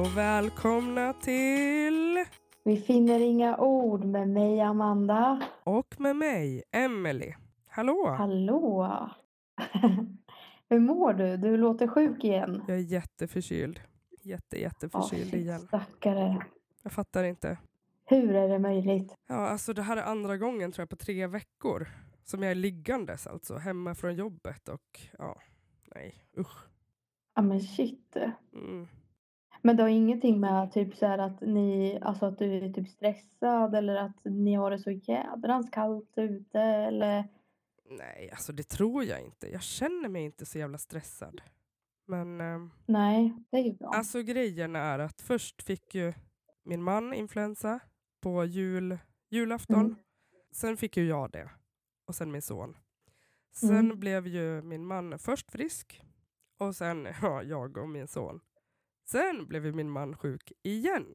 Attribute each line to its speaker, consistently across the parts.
Speaker 1: och välkomna till...
Speaker 2: Vi finner inga ord med mig, Amanda.
Speaker 1: Och med mig, Emelie. Hallå!
Speaker 2: Hallå! Hur mår du? Du låter sjuk igen.
Speaker 1: Jag är jätteförkyld. Jätte, jätteförkyld
Speaker 2: fy
Speaker 1: igen.
Speaker 2: Stackare.
Speaker 1: Jag fattar inte.
Speaker 2: Hur är det möjligt?
Speaker 1: Ja, alltså det här är andra gången tror jag på tre veckor som jag är liggandes alltså, hemma från jobbet och ja, nej, usch.
Speaker 2: Ja, men shit.
Speaker 1: Mm.
Speaker 2: Men det har ingenting med typ så här att ni, alltså att du är typ stressad eller att ni har det så jädrans kallt ute eller?
Speaker 1: Nej, alltså det tror jag inte. Jag känner mig inte så jävla stressad. Men ehm,
Speaker 2: Nej, det är ju bra.
Speaker 1: Alltså grejen är att först fick ju min man influensa på jul, julafton.
Speaker 2: Mm.
Speaker 1: Sen fick ju jag det. Och sen min son. Sen
Speaker 2: Mm.
Speaker 1: blev ju min man först frisk. Och sen ja, jag och min son. Sen blev ju min man sjuk igen.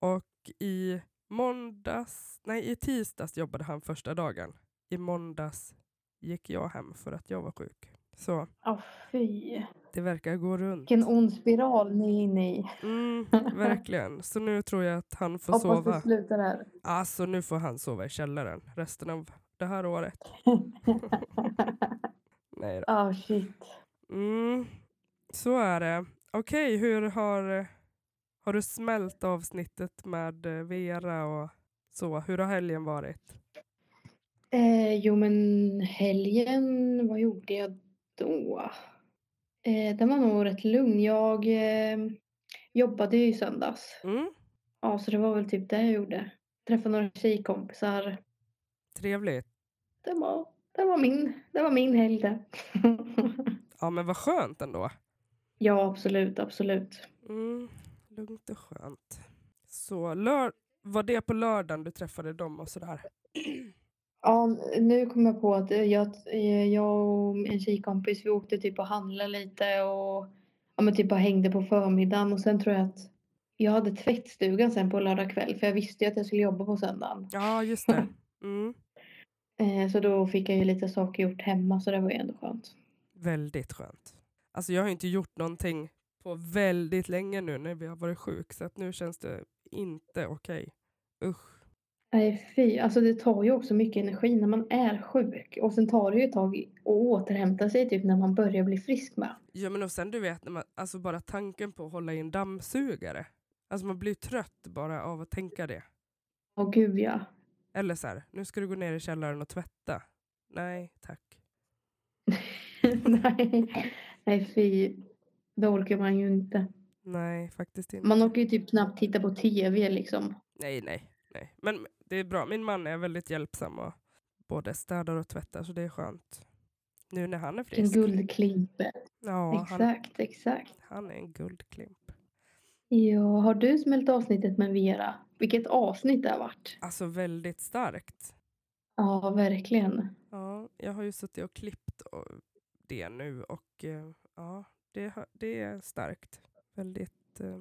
Speaker 1: Och i måndags, nej i tisdags jobbade han första dagen. I måndags gick jag hem för att jag var sjuk. Så
Speaker 2: Ja, fy.
Speaker 1: det verkar gå runt.
Speaker 2: Vilken ond spiral ni är inne i.
Speaker 1: Mm, verkligen. Så nu tror jag att han får
Speaker 2: Hoppas
Speaker 1: sova.
Speaker 2: det slutar här.
Speaker 1: Alltså nu får han sova i källaren resten av det här året. Nej då.
Speaker 2: Ja, shit.
Speaker 1: Mm, så är det. Okej, hur har, har du smält avsnittet med eh, Vera och så? Hur har helgen varit?
Speaker 2: Eh, jo, men helgen, vad gjorde jag då? Eh, den var nog rätt lugn. Jag eh, jobbade ju i söndags.
Speaker 1: Mm,
Speaker 2: Ja, så det var väl typ det jag gjorde. Träffade några tjejkompisar.
Speaker 1: trevligt.
Speaker 2: Det var, det var, min, det var min helg det.
Speaker 1: Ja, men vad skönt ändå.
Speaker 2: ja, absolut, absolut.
Speaker 1: Mm, lugnt och skönt. Så lör- var det på lördagen du träffade dem och sådär?
Speaker 2: Ja, nu kom jag på att eh, jag, eh, jag och en tjejkompis vi åkte typ och handlade lite och ja, men typ bara hängde på förmiddagen och sen tror jag att jag hade tvättstugan sen på lördag kväll för jag visste ju att jag skulle jobba på söndagen.
Speaker 1: Ja, just det. Mm,
Speaker 2: Eh, så då fick jag ju lite saker gjort hemma så det var ju ändå skönt.
Speaker 1: Väldigt skönt. Alltså jag har inte gjort någonting på väldigt länge nu när vi har varit sjuk så att nu känns det inte okej. Usch.
Speaker 2: Nej fy, alltså det tar ju också mycket energi när man är sjuk och sen tar det ju ett tag att återhämta sig typ när man börjar bli frisk med.
Speaker 1: Ja men och sen du vet, när man, alltså bara tanken på att hålla i en dammsugare. Alltså man blir trött bara av att tänka det.
Speaker 2: Åh gud ja.
Speaker 1: Eller så här, nu ska du gå ner i källaren och tvätta. Nej, tack.
Speaker 2: Nej. Nej fy, det orkar man ju inte.
Speaker 1: Nej, faktiskt inte.
Speaker 2: Man orkar ju typ knappt titta på tv liksom.
Speaker 1: Nej, nej, nej. Men det är bra. Min man är väldigt hjälpsam och både städar och tvättar så det är skönt. Nu när han är
Speaker 2: Vilken
Speaker 1: frisk.
Speaker 2: guldklimpe.
Speaker 1: Ja, han,
Speaker 2: exakt, exakt.
Speaker 1: han är en guldklimp.
Speaker 2: Ja, har du smält avsnittet med Vera? Vilket avsnitt det har varit.
Speaker 1: Alltså väldigt starkt.
Speaker 2: Ja, verkligen.
Speaker 1: Ja, jag har ju suttit och klippt och det nu och eh, ja, det, har- det är starkt. Väldigt, eh,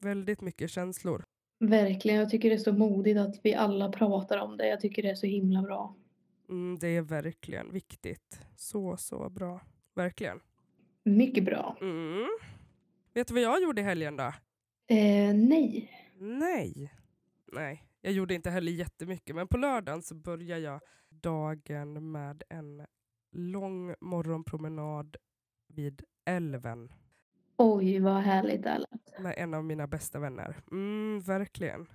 Speaker 1: väldigt mycket känslor.
Speaker 2: Verkligen. Jag tycker det är så modigt att vi alla pratar om det. Jag tycker det är så himla bra.
Speaker 1: Mm, det är verkligen viktigt. Så, så bra. Verkligen.
Speaker 2: Mycket bra.
Speaker 1: Mm. Vet du vad jag gjorde i helgen då?
Speaker 2: Eh, nej.
Speaker 1: Nej. Nej, jag gjorde inte heller jättemycket. Men på lördagen så började jag dagen med en lång morgonpromenad vid älven
Speaker 2: Oj, vad härligt det lät.
Speaker 1: med en av mina bästa vänner. Mm, verkligen.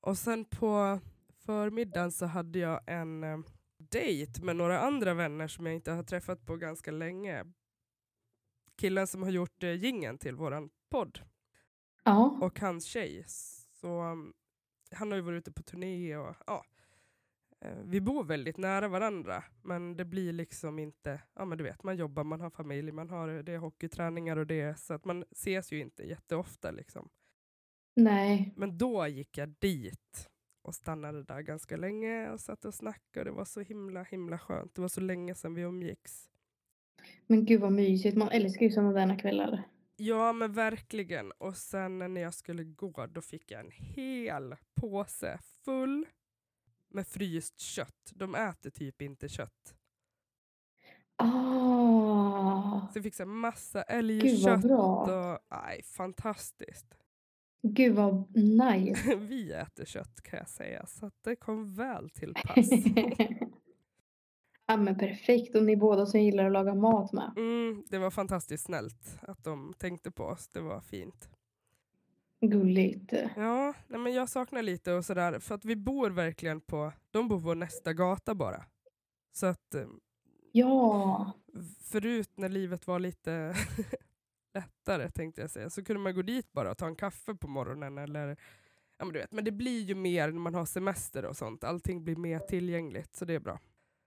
Speaker 1: Och sen på förmiddagen så hade jag en eh, dejt med några andra vänner som jag inte har träffat på ganska länge. Killen som har gjort eh, jingeln till våran podd
Speaker 2: Ja.
Speaker 1: och hans tjej. Så um, han har ju varit ute på turné och ja. Eh, Vi bor väldigt nära varandra, men det blir liksom inte, ja men du vet, man jobbar, man har familj, man har det är hockeyträningar och det, så att man ses ju inte jätteofta liksom.
Speaker 2: Nej.
Speaker 1: Men då gick jag dit och stannade där ganska länge och satt och snackade och det var så himla, himla skönt. Det var så länge sedan vi umgicks.
Speaker 2: Men gud vad mysigt. Man älskar ju sådana där kvällar.
Speaker 1: Ja men verkligen. Och sen när jag skulle gå då fick jag en hel påse full med fryst kött. De äter typ inte kött.
Speaker 2: Ah.
Speaker 1: Så jag fick så här massa
Speaker 2: Gud vad
Speaker 1: älgkött
Speaker 2: Ah, bra.
Speaker 1: och nej, fantastiskt.
Speaker 2: Gud vad nice.
Speaker 1: Vi äter kött kan jag säga, så att det kom väl till pass.
Speaker 2: ja men perfekt. Och ni båda som gillar att laga mat med.
Speaker 1: Mm, det var fantastiskt snällt att de tänkte på oss. Det var fint.
Speaker 2: Gulligt.
Speaker 1: Ja, nej men jag saknar lite och sådär, för att vi bor verkligen på, de bor på nästa gata bara. Så att eh,
Speaker 2: Ja.
Speaker 1: förut när livet var lite lättare tänkte jag säga, så kunde man gå dit bara och ta en kaffe på morgonen eller ja men du vet, men det blir ju mer när man har semester och sånt, allting blir mer tillgängligt så det är bra.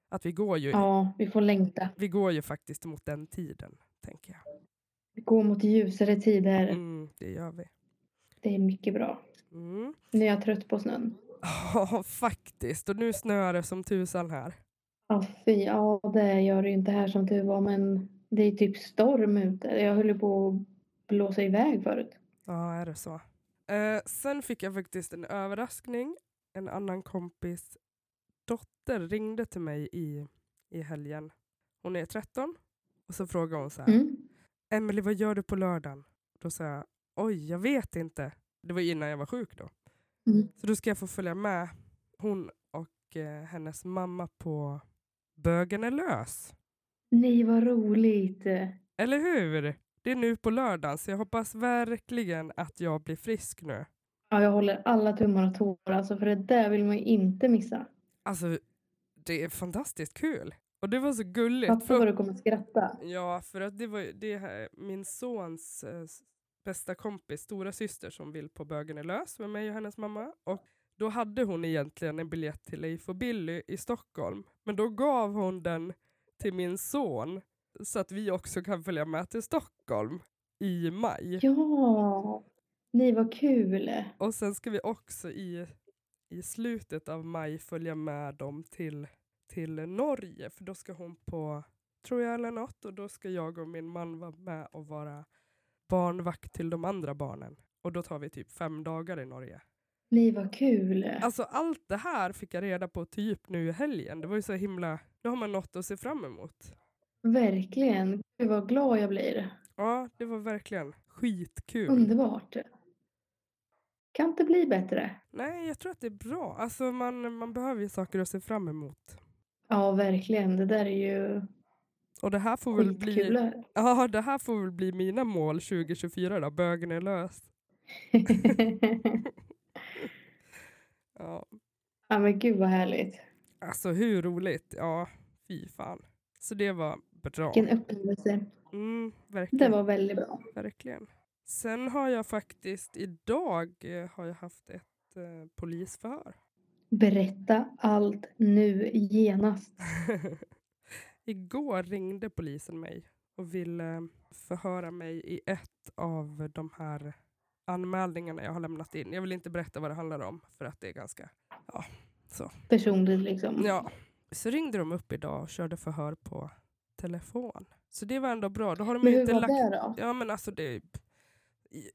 Speaker 1: Att vi går ju,
Speaker 2: Ja, vi får längta.
Speaker 1: vi går ju faktiskt mot den tiden, tänker jag.
Speaker 2: Vi går mot ljusare tider.
Speaker 1: Mm, det gör vi.
Speaker 2: Det är mycket bra.
Speaker 1: Mm.
Speaker 2: Nu är jag trött på snön.
Speaker 1: Ja, faktiskt. Och nu snöar det som tusan här.
Speaker 2: Ja, fy. Ja, det gör det ju inte här som tur var, men det är typ storm ute. Jag höll ju på att blåsa iväg förut.
Speaker 1: Ja, är det så? Eh, sen fick jag faktiskt en överraskning. En annan kompis dotter ringde till mig i, i helgen. Hon är 13 och så frågade hon så här.
Speaker 2: Mm.
Speaker 1: Emelie, vad gör du på lördagen? Då sa jag, oj, jag vet inte. Det var innan jag var sjuk då.
Speaker 2: Mm.
Speaker 1: Så då ska jag få följa med hon och eh, hennes mamma på Bögen är lös.
Speaker 2: Nej, vad roligt.
Speaker 1: Eller hur? Det är nu på lördagen, så jag hoppas verkligen att jag blir frisk nu.
Speaker 2: Ja, jag håller alla tummar och tår alltså, för det där vill man ju inte missa.
Speaker 1: Alltså, det är fantastiskt kul. Och det var så gulligt.
Speaker 2: Fatta vad
Speaker 1: För,
Speaker 2: du kommer skratta.
Speaker 1: ja, för att det var ju- det här, min sons eh, s- bästa kompis, stora syster som vill på Bögen är lös med mig och hennes mamma. Och då hade hon egentligen en biljett till Leif och Billy i Stockholm. Men då gav hon den till min son så att vi också kan följa med till Stockholm i maj.
Speaker 2: Ja. Nej, vad kul.
Speaker 1: Och sen ska vi också i, i slutet av maj följa med dem till, till Norge, för då ska hon på, tror jag eller något, och då ska jag och min man vara med och vara barnvakt till de andra barnen. Och då tar vi typ fem dagar i Norge.
Speaker 2: Nej, vad kul.
Speaker 1: Alltså allt det här fick jag reda på typ nu i helgen. Det var ju så himla, nu har man något att se fram emot.
Speaker 2: Verkligen. Gud, vad glad jag blir.
Speaker 1: Ja, det var verkligen skitkul.
Speaker 2: Underbart. Kan inte bli bättre.
Speaker 1: Nej, jag tror att det är bra. Alltså man, man behöver ju saker att se fram emot.
Speaker 2: Ja, verkligen. Det där är ju
Speaker 1: Och det här får väl bli...
Speaker 2: skitkul.
Speaker 1: Ja, det här får väl bli mina mål 2024 då. Bögen är löst. Ja.
Speaker 2: ja, men gud vad härligt.
Speaker 1: Alltså hur roligt? Ja, fy fan. Så det var bra.
Speaker 2: Vilken upplevelse.
Speaker 1: Mm,
Speaker 2: Det
Speaker 1: verkligen,
Speaker 2: var väldigt bra.
Speaker 1: verkligen. Sen har jag faktiskt idag eh, har jag haft ett eh, polisförhör.
Speaker 2: Berätta allt nu genast.
Speaker 1: Igår ringde polisen mig och ville förhöra mig i ett av de här anmälningarna jag har lämnat in. Jag vill inte berätta vad det handlar om för att det är ganska
Speaker 2: Personligt liksom.
Speaker 1: Ja, så ringde de upp idag och körde förhör på telefon. Så det var ändå bra. Då har de
Speaker 2: men
Speaker 1: ju
Speaker 2: hur
Speaker 1: inte
Speaker 2: var
Speaker 1: lagt...
Speaker 2: det då?
Speaker 1: Ja, men alltså det...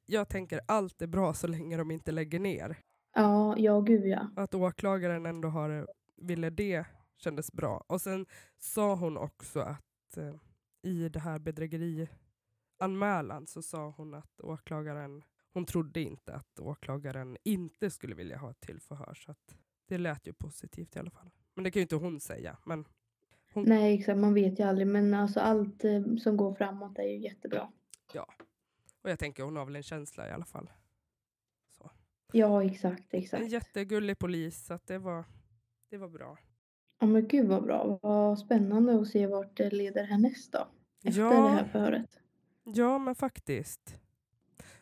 Speaker 1: Jag tänker allt är bra så länge de inte lägger ner.
Speaker 2: Ja, ja gud ja.
Speaker 1: Att åklagaren ändå har eh, ville det kändes bra. Och sen sa hon också att eh, i det här bedrägerianmälan så sa hon att åklagaren, hon trodde inte att åklagaren inte skulle vilja ha ett till förhör. Så att det lät ju positivt i alla fall. Men det kan ju inte hon säga. Men
Speaker 2: Nej, exakt. Man vet ju aldrig. Men alltså allt eh, som går framåt är ju jättebra.
Speaker 1: Och jag tänker hon har väl en känsla i alla fall.
Speaker 2: Ja, exakt,
Speaker 1: En
Speaker 2: exakt.
Speaker 1: jättegullig polis, så att det, var, det var bra.
Speaker 2: Ja, men gud vad bra. Vad spännande att se vart det leder härnäst då. Efter det
Speaker 1: Ja,
Speaker 2: här förhöret.
Speaker 1: ja, men faktiskt.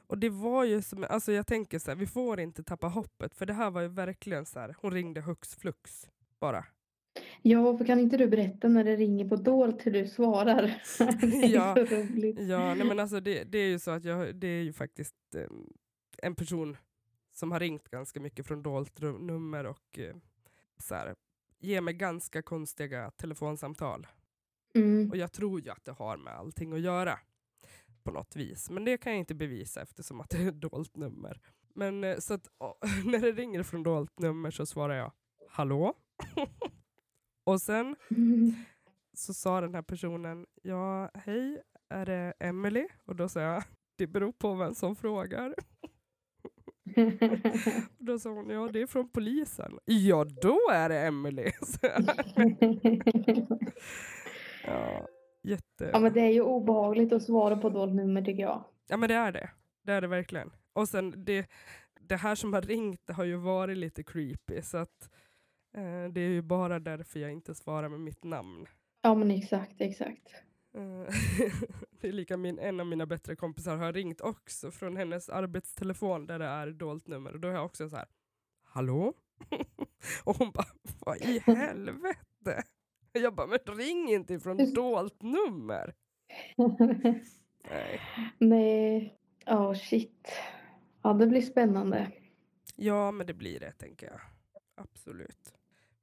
Speaker 1: Och det var ju som, alltså jag tänker så här, vi får inte tappa hoppet, för det här var ju verkligen så här, hon ringde hux flux bara.
Speaker 2: Ja, för kan inte du berätta när det ringer på dolt hur du svarar? det är
Speaker 1: Ja.
Speaker 2: så roligt.
Speaker 1: Ja, nej men alltså det, det är ju så att jag, det är ju faktiskt eh, en person som har ringt ganska mycket från dolt rum- nummer och eh, så här, ger mig ganska konstiga telefonsamtal.
Speaker 2: Mm.
Speaker 1: Och jag tror ju att det har med allting att göra på något vis. Men det kan jag inte bevisa eftersom att det är ett dolt nummer. Men eh, så att å, när det ringer från dolt nummer så svarar jag hallå. och sen så sa den här personen ja hej är det Emily? Och då sa jag det beror på vem som frågar. Och då sa hon, ja det är från polisen. Ja, då är det Emily. Så jag, ja, jätte...
Speaker 2: ja men det är ju obehagligt att svara på dolt nummer tycker jag.
Speaker 1: Ja men det är det. Det är det verkligen. Och sen det, det här som har ringt det har ju varit lite creepy så att eh, det är ju bara därför jag inte svarar med mitt namn.
Speaker 2: Ja men exakt, exakt.
Speaker 1: Eh, det är lika min, en av mina bättre kompisar har ringt också från hennes arbetstelefon där det är dolt nummer och då är jag också så här Hallå? och hon bara Vad i helvete? Jag bara men ring inte ifrån dolt nummer. Nej.
Speaker 2: Nej, ja shit. Ja det blir spännande.
Speaker 1: Ja, men det blir det, tänker jag. Absolut.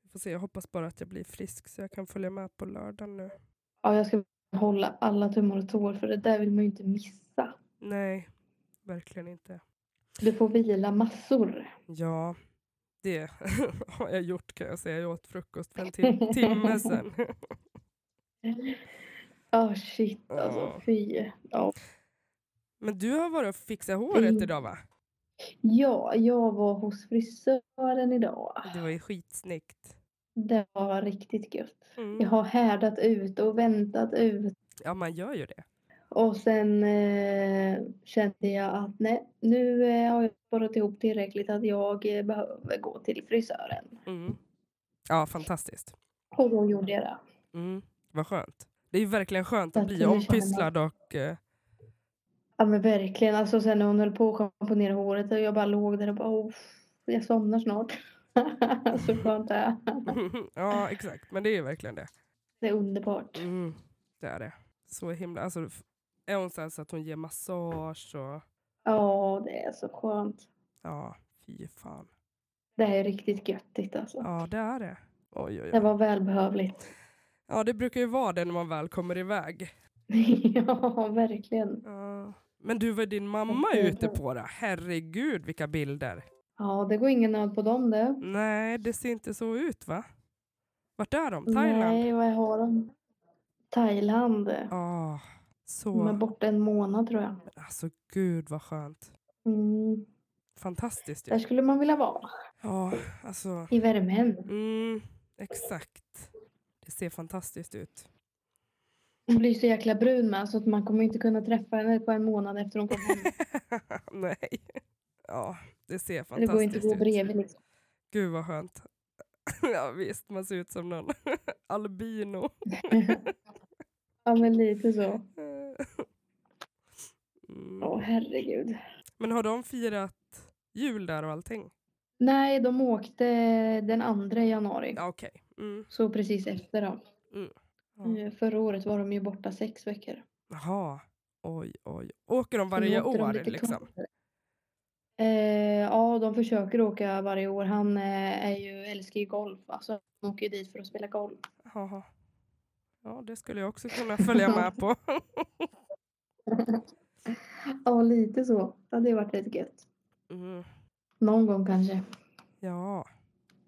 Speaker 1: Vi får se. Jag hoppas bara att jag blir frisk så jag kan följa med på lördag nu.
Speaker 2: Ja jag ska hålla alla tummar och tår för det där vill man ju inte missa.
Speaker 1: Nej, verkligen inte.
Speaker 2: Du får vila massor.
Speaker 1: Ja, det har jag gjort kan jag säga. Jag åt frukost för en tim- timme sedan.
Speaker 2: Ja shit
Speaker 1: Ja.
Speaker 2: alltså fy. Ja.
Speaker 1: Men du har varit och fixat håret
Speaker 2: Mm.
Speaker 1: idag va?
Speaker 2: ja jag var hos frisören idag.
Speaker 1: Det var ju skitsnyggt.
Speaker 2: Det var riktigt gött. Jag
Speaker 1: Mm.
Speaker 2: har härdat ut och väntat ut.
Speaker 1: Ja, man gör ju det.
Speaker 2: Och sen eh, kände jag att nej, nu eh, har jag sparat ihop tillräckligt att jag eh, behöver gå till frisören.
Speaker 1: Mm. Ja, fantastiskt.
Speaker 2: Och då gjorde jag det.
Speaker 1: Mm. Vad skönt. Det är ju verkligen skönt att
Speaker 2: Jag
Speaker 1: bli
Speaker 2: tror jag känner mig-
Speaker 1: ompysslad och... eh,
Speaker 2: Ja men verkligen. Alltså sen när hon höll på att schamponera håret och jag bara låg där och bara oh, jag somnar snart. Så skönt det är.
Speaker 1: ja, exakt. Men det är ju verkligen det.
Speaker 2: Det är underbart.
Speaker 1: Mm, det är det. Så himla... Alltså, f- är hon så, här så att hon ger massage och...
Speaker 2: Ja det är så skönt.
Speaker 1: Ja, fy fan.
Speaker 2: Det här är riktigt göttigt alltså.
Speaker 1: Ja, det är det. Oj, oj,
Speaker 2: Det
Speaker 1: oj.
Speaker 2: var välbehövligt.
Speaker 1: Ja, det brukar ju vara det när man väl kommer iväg.
Speaker 2: ja verkligen.
Speaker 1: Ja. Men du, var din mamma
Speaker 2: Mm.
Speaker 1: ute på det? Herregud, vilka bilder.
Speaker 2: Ja det går ingen nöd på dem det.
Speaker 1: Nej, det ser inte så ut, va? Vart är de? Thailand?
Speaker 2: Nej, vad har de? Thailand.
Speaker 1: Ah,
Speaker 2: De är
Speaker 1: så...
Speaker 2: borta en månad tror jag.
Speaker 1: Alltså, gud vad skönt.
Speaker 2: Mm.
Speaker 1: Fantastiskt ju.
Speaker 2: Där skulle man vilja vara.
Speaker 1: Ja, alltså...
Speaker 2: I värmen.
Speaker 1: Mm, exakt. Det ser fantastiskt ut.
Speaker 2: Hon blir så jäkla brun med så att man kommer inte kunna träffa henne på en månad efter hon kom hem.
Speaker 1: Nej. Ja, det ser
Speaker 2: Det går inte
Speaker 1: fantastiskt
Speaker 2: att gå
Speaker 1: ut.
Speaker 2: bredvid liksom.
Speaker 1: Gud vad skönt. ja visst, man ser ut som någon albino.
Speaker 2: Ja men lite så.
Speaker 1: Mm.
Speaker 2: Åh herregud.
Speaker 1: Men har de firat jul där och allting?
Speaker 2: Nej, de åkte den 2 januari.
Speaker 1: Ja, okej. Mm.
Speaker 2: Så precis efter då.
Speaker 1: Ja.
Speaker 2: Eh, Förra året var de ju borta sex veckor.
Speaker 1: Jaha. Oj, oj. Åker de
Speaker 2: Så nu
Speaker 1: varje
Speaker 2: åkte de
Speaker 1: år
Speaker 2: lite
Speaker 1: liksom?
Speaker 2: kortare. Eh, ja, de försöker åka varje år. Han eh, är ju, älskar ju golf. Alltså, han åker ju dit för att spela golf.
Speaker 1: Jaha. Ja, det skulle jag också kunna följa med på.
Speaker 2: Ja, lite så. Det hade ju varit lite gött.
Speaker 1: Mm.
Speaker 2: Någon gång kanske.
Speaker 1: Ja,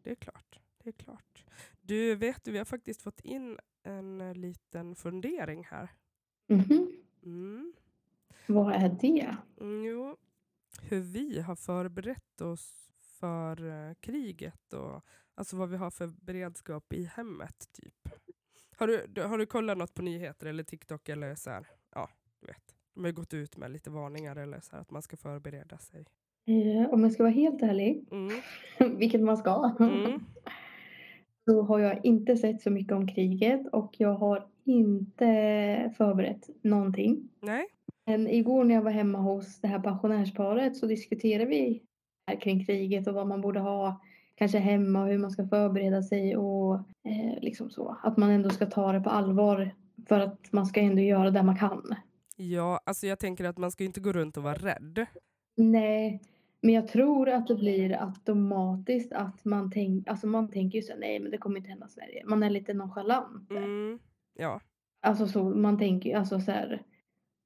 Speaker 1: det är klart. Det är klart. Du, vet du, vi har faktiskt fått in en eh, liten fundering här.
Speaker 2: Mhm.
Speaker 1: Mm.
Speaker 2: Vad är det?
Speaker 1: Mm, Jo, hur vi har förberett oss för eh, kriget och alltså vad vi har för beredskap i hemmet. typ. Har du, du, har du kollat något på nyheter eller TikTok eller så här? Ja, du vet. De har ju gått ut med lite varningar eller så här att man ska förbereda sig.
Speaker 2: Eh, om jag ska vara helt ärlig,
Speaker 1: Mm.
Speaker 2: vilket man ska,
Speaker 1: Mm.
Speaker 2: så har jag inte sett så mycket om kriget och jag har inte förberett någonting.
Speaker 1: Nej?
Speaker 2: Men igår när jag var hemma hos det här pensionärsparet så diskuterade vi här kring kriget och vad man borde ha kanske hemma och hur man ska förbereda sig och eh, liksom så. Att man ändå ska ta det på allvar för att man ska ändå göra det man kan.
Speaker 1: Ja, alltså jag tänker att man ska ju inte gå runt och vara rädd.
Speaker 2: Nej, men jag tror att det blir automatiskt att man, tänk, alltså man tänker ju så här, nej men det kommer inte hända Sverige. Man är lite nonchalant.
Speaker 1: Mm. Ja.
Speaker 2: Alltså så, man tänker ju alltså så här.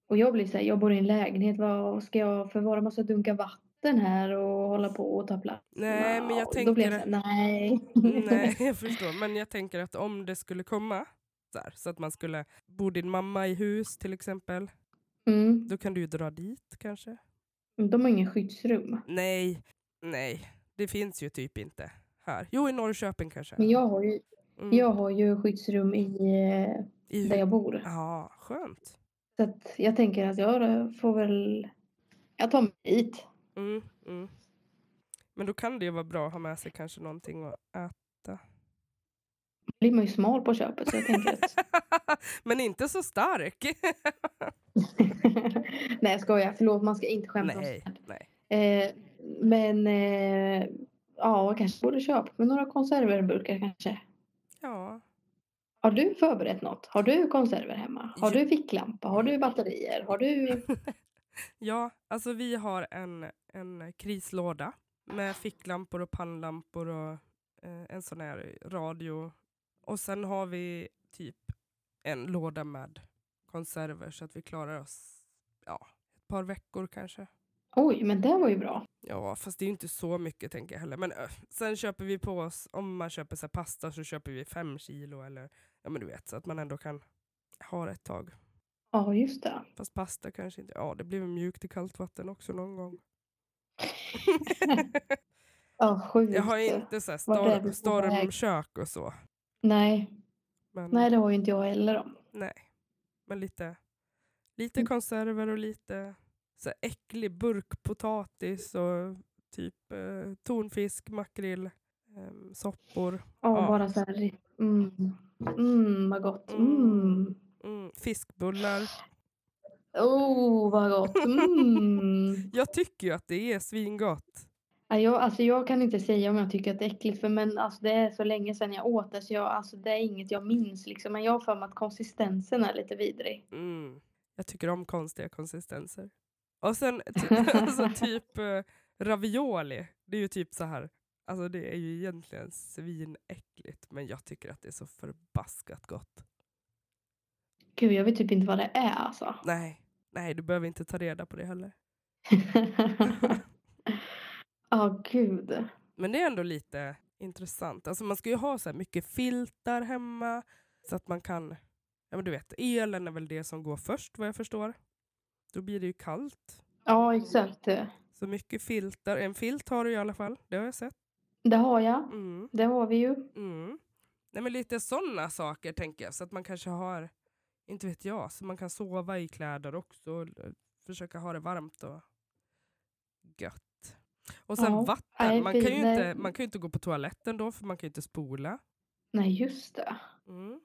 Speaker 2: Och jag blir så här, jag bor i en lägenhet, vad ska jag förvara massa dunkar vatten här och hålla på och ta plats?
Speaker 1: Nej, men jag
Speaker 2: Wow,
Speaker 1: tänker
Speaker 2: Då blir jag så
Speaker 1: att-
Speaker 2: här, Mm, nej.
Speaker 1: Nej, jag förstår. Men jag tänker att om det skulle komma så, här, så att man skulle bo din mamma i hus till exempel,
Speaker 2: Mm.
Speaker 1: då kan du ju dra dit kanske.
Speaker 2: De har ingen skyddsrum.
Speaker 1: Nej, nej, det finns ju typ inte här. Jo, i Norrköping kanske.
Speaker 2: Men jag har ju,
Speaker 1: Mm.
Speaker 2: jag har ju skyddsrum i, eh,
Speaker 1: I
Speaker 2: där jag bor.
Speaker 1: Ja, skönt.
Speaker 2: Så att jag tänker att jag får väl... Jag tar mig hit.
Speaker 1: Mm, mm. Men då kan det ju vara bra att ha med sig kanske någonting att äta.
Speaker 2: blir man ju smal på köpet. Så jag tänker att...
Speaker 1: Men inte så stark.
Speaker 2: Nej, jag skojar. Förlåt, man ska inte skämta om
Speaker 1: nej,
Speaker 2: sånt
Speaker 1: nej.
Speaker 2: här. eh, Men... Eh, ja, jag kanske borde köpa med några konserverburkar kanske.
Speaker 1: Ja.
Speaker 2: Har du förberett något? Har du konserver hemma? Har
Speaker 1: Ja.
Speaker 2: du ficklampa? Har du batterier? Har du...
Speaker 1: ja, alltså vi har en, en krislåda med ficklampor och pannlampor och eh, en sån här radio. Och sen har vi typ en låda med konserver så att vi klarar oss ja, ett par veckor kanske.
Speaker 2: Oj, men det var ju bra.
Speaker 1: Ja, fast det är ju inte så mycket tänker jag heller. Men ö, sen köper vi på oss, om man köper så här pasta så köper vi fem kilo eller ja men du vet så att man ändå kan ha det ett tag.
Speaker 2: Ja, just det.
Speaker 1: Fast pasta kanske inte, ja det blir väl mjukt i kallt vatten också någon gång.
Speaker 2: Ja, sjukt.
Speaker 1: jag har ju inte så här
Speaker 2: Vart är
Speaker 1: stor,
Speaker 2: vi på
Speaker 1: stormkök och så.
Speaker 2: Nej,
Speaker 1: Men,
Speaker 2: nej, det har ju inte jag heller. Då.
Speaker 1: men lite, lite
Speaker 2: Mm.
Speaker 1: konserver och lite så här äcklig burkpotatis och typ eh, tonfisk, makrill, eh, soppor.
Speaker 2: Ja,
Speaker 1: Ja.
Speaker 2: bara så här... Mm, mm vad gott.
Speaker 1: Mm.
Speaker 2: Mm.
Speaker 1: Mm, fiskbullar.
Speaker 2: Oh, vad gott. Mm.
Speaker 1: Jag tycker ju att det är svingott.
Speaker 2: Ja, jag, alltså, jag kan inte säga om jag tycker att det är äckligt, för, men alltså, det är så länge sedan jag åt det så jag, alltså, det är inget jag minns. Liksom. Men jag har för mig att konsistensen är lite vidrig.
Speaker 1: Mm. Jag tycker om konstiga konsistenser. Och sen ty- alltså, typ eh, ravioli. Det är ju typ så här. Alltså det är ju egentligen svinäckligt men jag tycker att det är så förbaskat gott.
Speaker 2: Gud, jag vet typ inte vad det är alltså.
Speaker 1: Nej, nej du behöver inte ta reda på det heller.
Speaker 2: Ja, gud.
Speaker 1: Men det är ändå lite intressant. Alltså man ska ju ha så här mycket filtar hemma så att man kan... Ja men du vet, elen är väl det som går först vad jag förstår. Då blir det ju kallt.
Speaker 2: Ja, exakt.
Speaker 1: Så mycket filtar. En filt har du i alla fall, det har jag sett.
Speaker 2: Det har jag.
Speaker 1: Mm,
Speaker 2: Det har vi ju.
Speaker 1: mm. Nej men lite sådana saker tänker jag. Så att man kanske har, inte vet jag, så man kan sova i kläder också. Och eh, försöka ha det varmt och gött. Och sen
Speaker 2: Ja,
Speaker 1: vatten.
Speaker 2: nej,
Speaker 1: Man kan, ju
Speaker 2: fin- nej.
Speaker 1: inte, man kan ju inte gå på toaletten då för man kan ju inte spola.
Speaker 2: Nej, just det.
Speaker 1: Mm.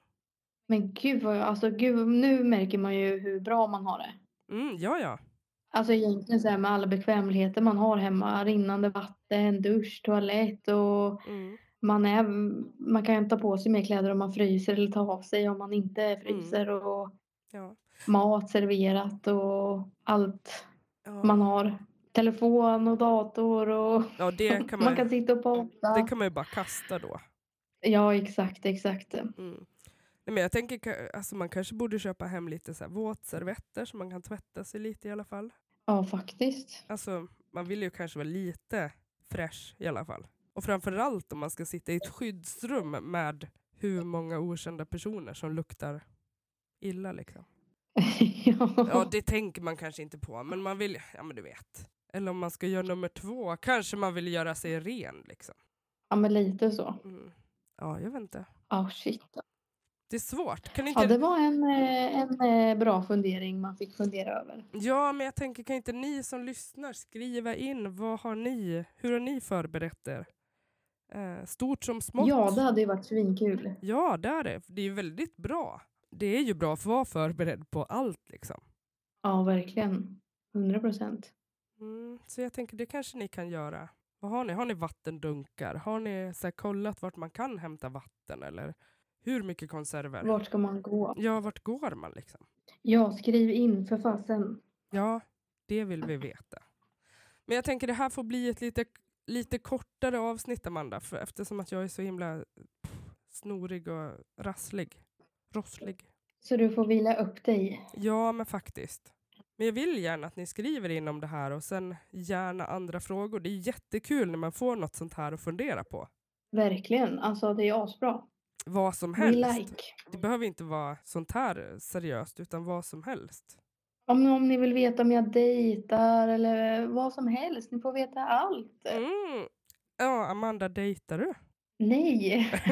Speaker 2: Men gud, vad jag, alltså, gud, nu märker man ju hur bra man har det.
Speaker 1: Mm, ja, ja.
Speaker 2: Alltså egentligen så här med alla bekvämligheter man har hemma, rinnande vatten, dusch, toalett och
Speaker 1: Mm.
Speaker 2: man, är, man kan ju ta på sig mer kläder om man fryser eller ta av sig om man inte
Speaker 1: Mm.
Speaker 2: fryser och
Speaker 1: Ja.
Speaker 2: mat serverat och allt
Speaker 1: Ja.
Speaker 2: man har. Telefon och dator och
Speaker 1: ja, det kan man,
Speaker 2: man kan sitta och prata.
Speaker 1: det kan man ju bara kasta då.
Speaker 2: Ja, exakt, exakt.
Speaker 1: Mm. Nej, men jag tänker ka- alltså, man kanske borde köpa hem lite så här våtservetter så man kan tvätta sig lite i alla fall.
Speaker 2: Ja, faktiskt.
Speaker 1: Alltså, man vill ju kanske vara lite fräsch i alla fall. Och framförallt om man ska sitta i ett skyddsrum med hur många okända personer som luktar illa. Liksom. Ja,
Speaker 2: ja.
Speaker 1: det tänker man kanske inte på, men man vill, ja men du vet. Eller om man ska göra nummer två, kanske man vill göra sig ren. Liksom.
Speaker 2: ja, men lite så.
Speaker 1: Mm. Ja, jag vet inte.
Speaker 2: Ja, shit.
Speaker 1: Det är svårt. Kan inte...
Speaker 2: Ja, det var en, eh, en eh, bra fundering man fick fundera över.
Speaker 1: Ja, men jag tänker kan inte ni som lyssnar skriva in vad har ni, hur har ni förberett er? Eh, stort som smått?
Speaker 2: Ja, det hade ju varit svinkul.
Speaker 1: ja, det är det. Det är ju väldigt bra. Det är ju bra för att vara förberedd på allt liksom.
Speaker 2: Ja, verkligen. 100 procent.
Speaker 1: Mm, så jag tänker det kanske ni kan göra. Vad har ni? Har ni vattendunkar? Har ni så här, kollat vart man kan hämta vatten eller hur mycket konserver?
Speaker 2: Vart ska man gå?
Speaker 1: Ja, vart går man liksom?
Speaker 2: Ja, skriv in för fasen.
Speaker 1: Ja, det vill vi veta. Men jag tänker det här får bli ett lite, lite kortare avsnitt Amanda, för eftersom att jag är så himla pff, snorig och rasslig. Rosslig.
Speaker 2: Så du får vila upp dig.
Speaker 1: Ja, men faktiskt. Men jag vill gärna att ni skriver in om det här och sen gärna andra frågor. Det är jättekul när man får något sånt här att fundera på.
Speaker 2: Verkligen. Alltså, det är asbra.
Speaker 1: Vad som
Speaker 2: We
Speaker 1: helst.
Speaker 2: like.
Speaker 1: eh, Det behöver inte vara sånt här seriöst, utan vad som helst.
Speaker 2: Om, om ni vill veta om jag dejtar eller vad som helst. Ni får veta allt.
Speaker 1: Mm. Ja, Amanda, dejtar du?
Speaker 2: Nej.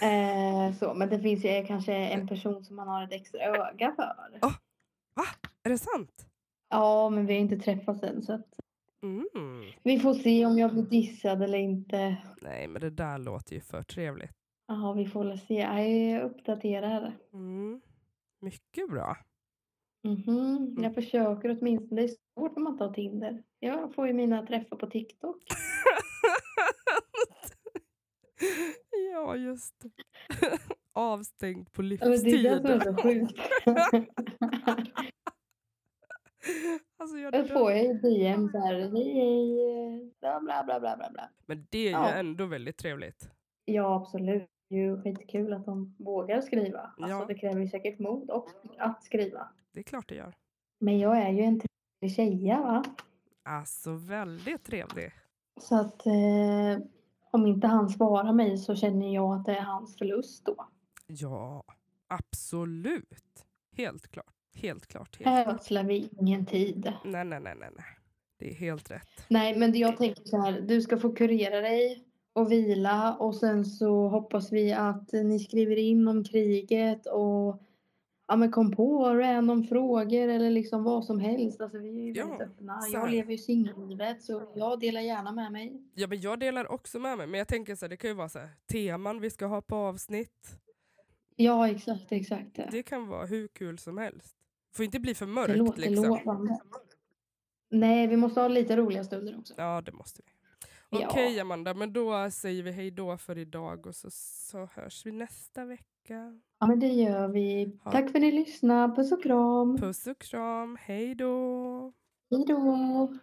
Speaker 2: men, eh, så, men det finns ju kanske en person som man har ett extra öga för.
Speaker 1: Är det sant?
Speaker 2: Ja, men vi har inte träffats än så att
Speaker 1: Mm.
Speaker 2: vi får se om jag blir dissad eller inte.
Speaker 1: Nej, men det där låter ju för trevligt.
Speaker 2: Ja, vi får väl se. Jag uppdaterar.
Speaker 1: Mm. Mycket bra.
Speaker 2: Mhm, Jag försöker åtminstone. Det är svårt när man inte har Tinder. Jag får ju mina träffar på TikTok.
Speaker 1: ja, just det. Avstängd på
Speaker 2: Ja, men Det är det som är
Speaker 1: livstid.
Speaker 2: så sjukt.
Speaker 1: Alltså, jag
Speaker 2: Då
Speaker 1: dör.
Speaker 2: får jag ju DM så här. Hej, hej. eh, Bla, bla, bla, bla, bla, bla.
Speaker 1: Men det är ju
Speaker 2: Ja.
Speaker 1: ändå väldigt trevligt.
Speaker 2: Ja, absolut. Det är ju skitkul att de vågar skriva. Alltså,
Speaker 1: Ja.
Speaker 2: Det kräver ju säkert mod och att skriva.
Speaker 1: Det är klart det gör.
Speaker 2: Men jag är ju en trevlig tjeja, va?
Speaker 1: Alltså väldigt trevlig.
Speaker 2: Så att eh, om inte han svarar mig så känner jag att det är hans förlust då.
Speaker 1: Ja, absolut. Helt klart. Helt klart. Helt. klart.
Speaker 2: Ödslar vi ingen tid.
Speaker 1: Nej, nej, nej, nej, nej. Det är helt rätt.
Speaker 2: Nej, men jag tänker så här. Du ska få kurera dig och vila och sen så hoppas vi att ni skriver in om kriget och ja, men kom på random frågor eller liksom vad som helst. Alltså, vi är ju
Speaker 1: Ja,
Speaker 2: väldigt öppna.
Speaker 1: så är
Speaker 2: Jag
Speaker 1: det.
Speaker 2: lever ju singellivet så jag delar gärna med mig.
Speaker 1: Ja, men jag delar också med mig. Men jag tänker så här, det kan ju vara så här, teman vi ska ha på avsnitt.
Speaker 2: Ja, exakt, exakt.
Speaker 1: Det kan vara hur kul som helst. Får inte bli för
Speaker 2: Det
Speaker 1: mörkt
Speaker 2: låter
Speaker 1: liksom.
Speaker 2: lovande. Nej, vi måste ha lite roliga stunder också.
Speaker 1: Ja, det måste vi. Okej
Speaker 2: Ja.
Speaker 1: Amanda, men då säger vi hej då för idag och så, så hörs vi nästa vecka.
Speaker 2: Ja, men det gör vi.
Speaker 1: Ja.
Speaker 2: Tack för att ni lyssnade. Puss och kram.
Speaker 1: Puss och kram, hej då!
Speaker 2: Hej då.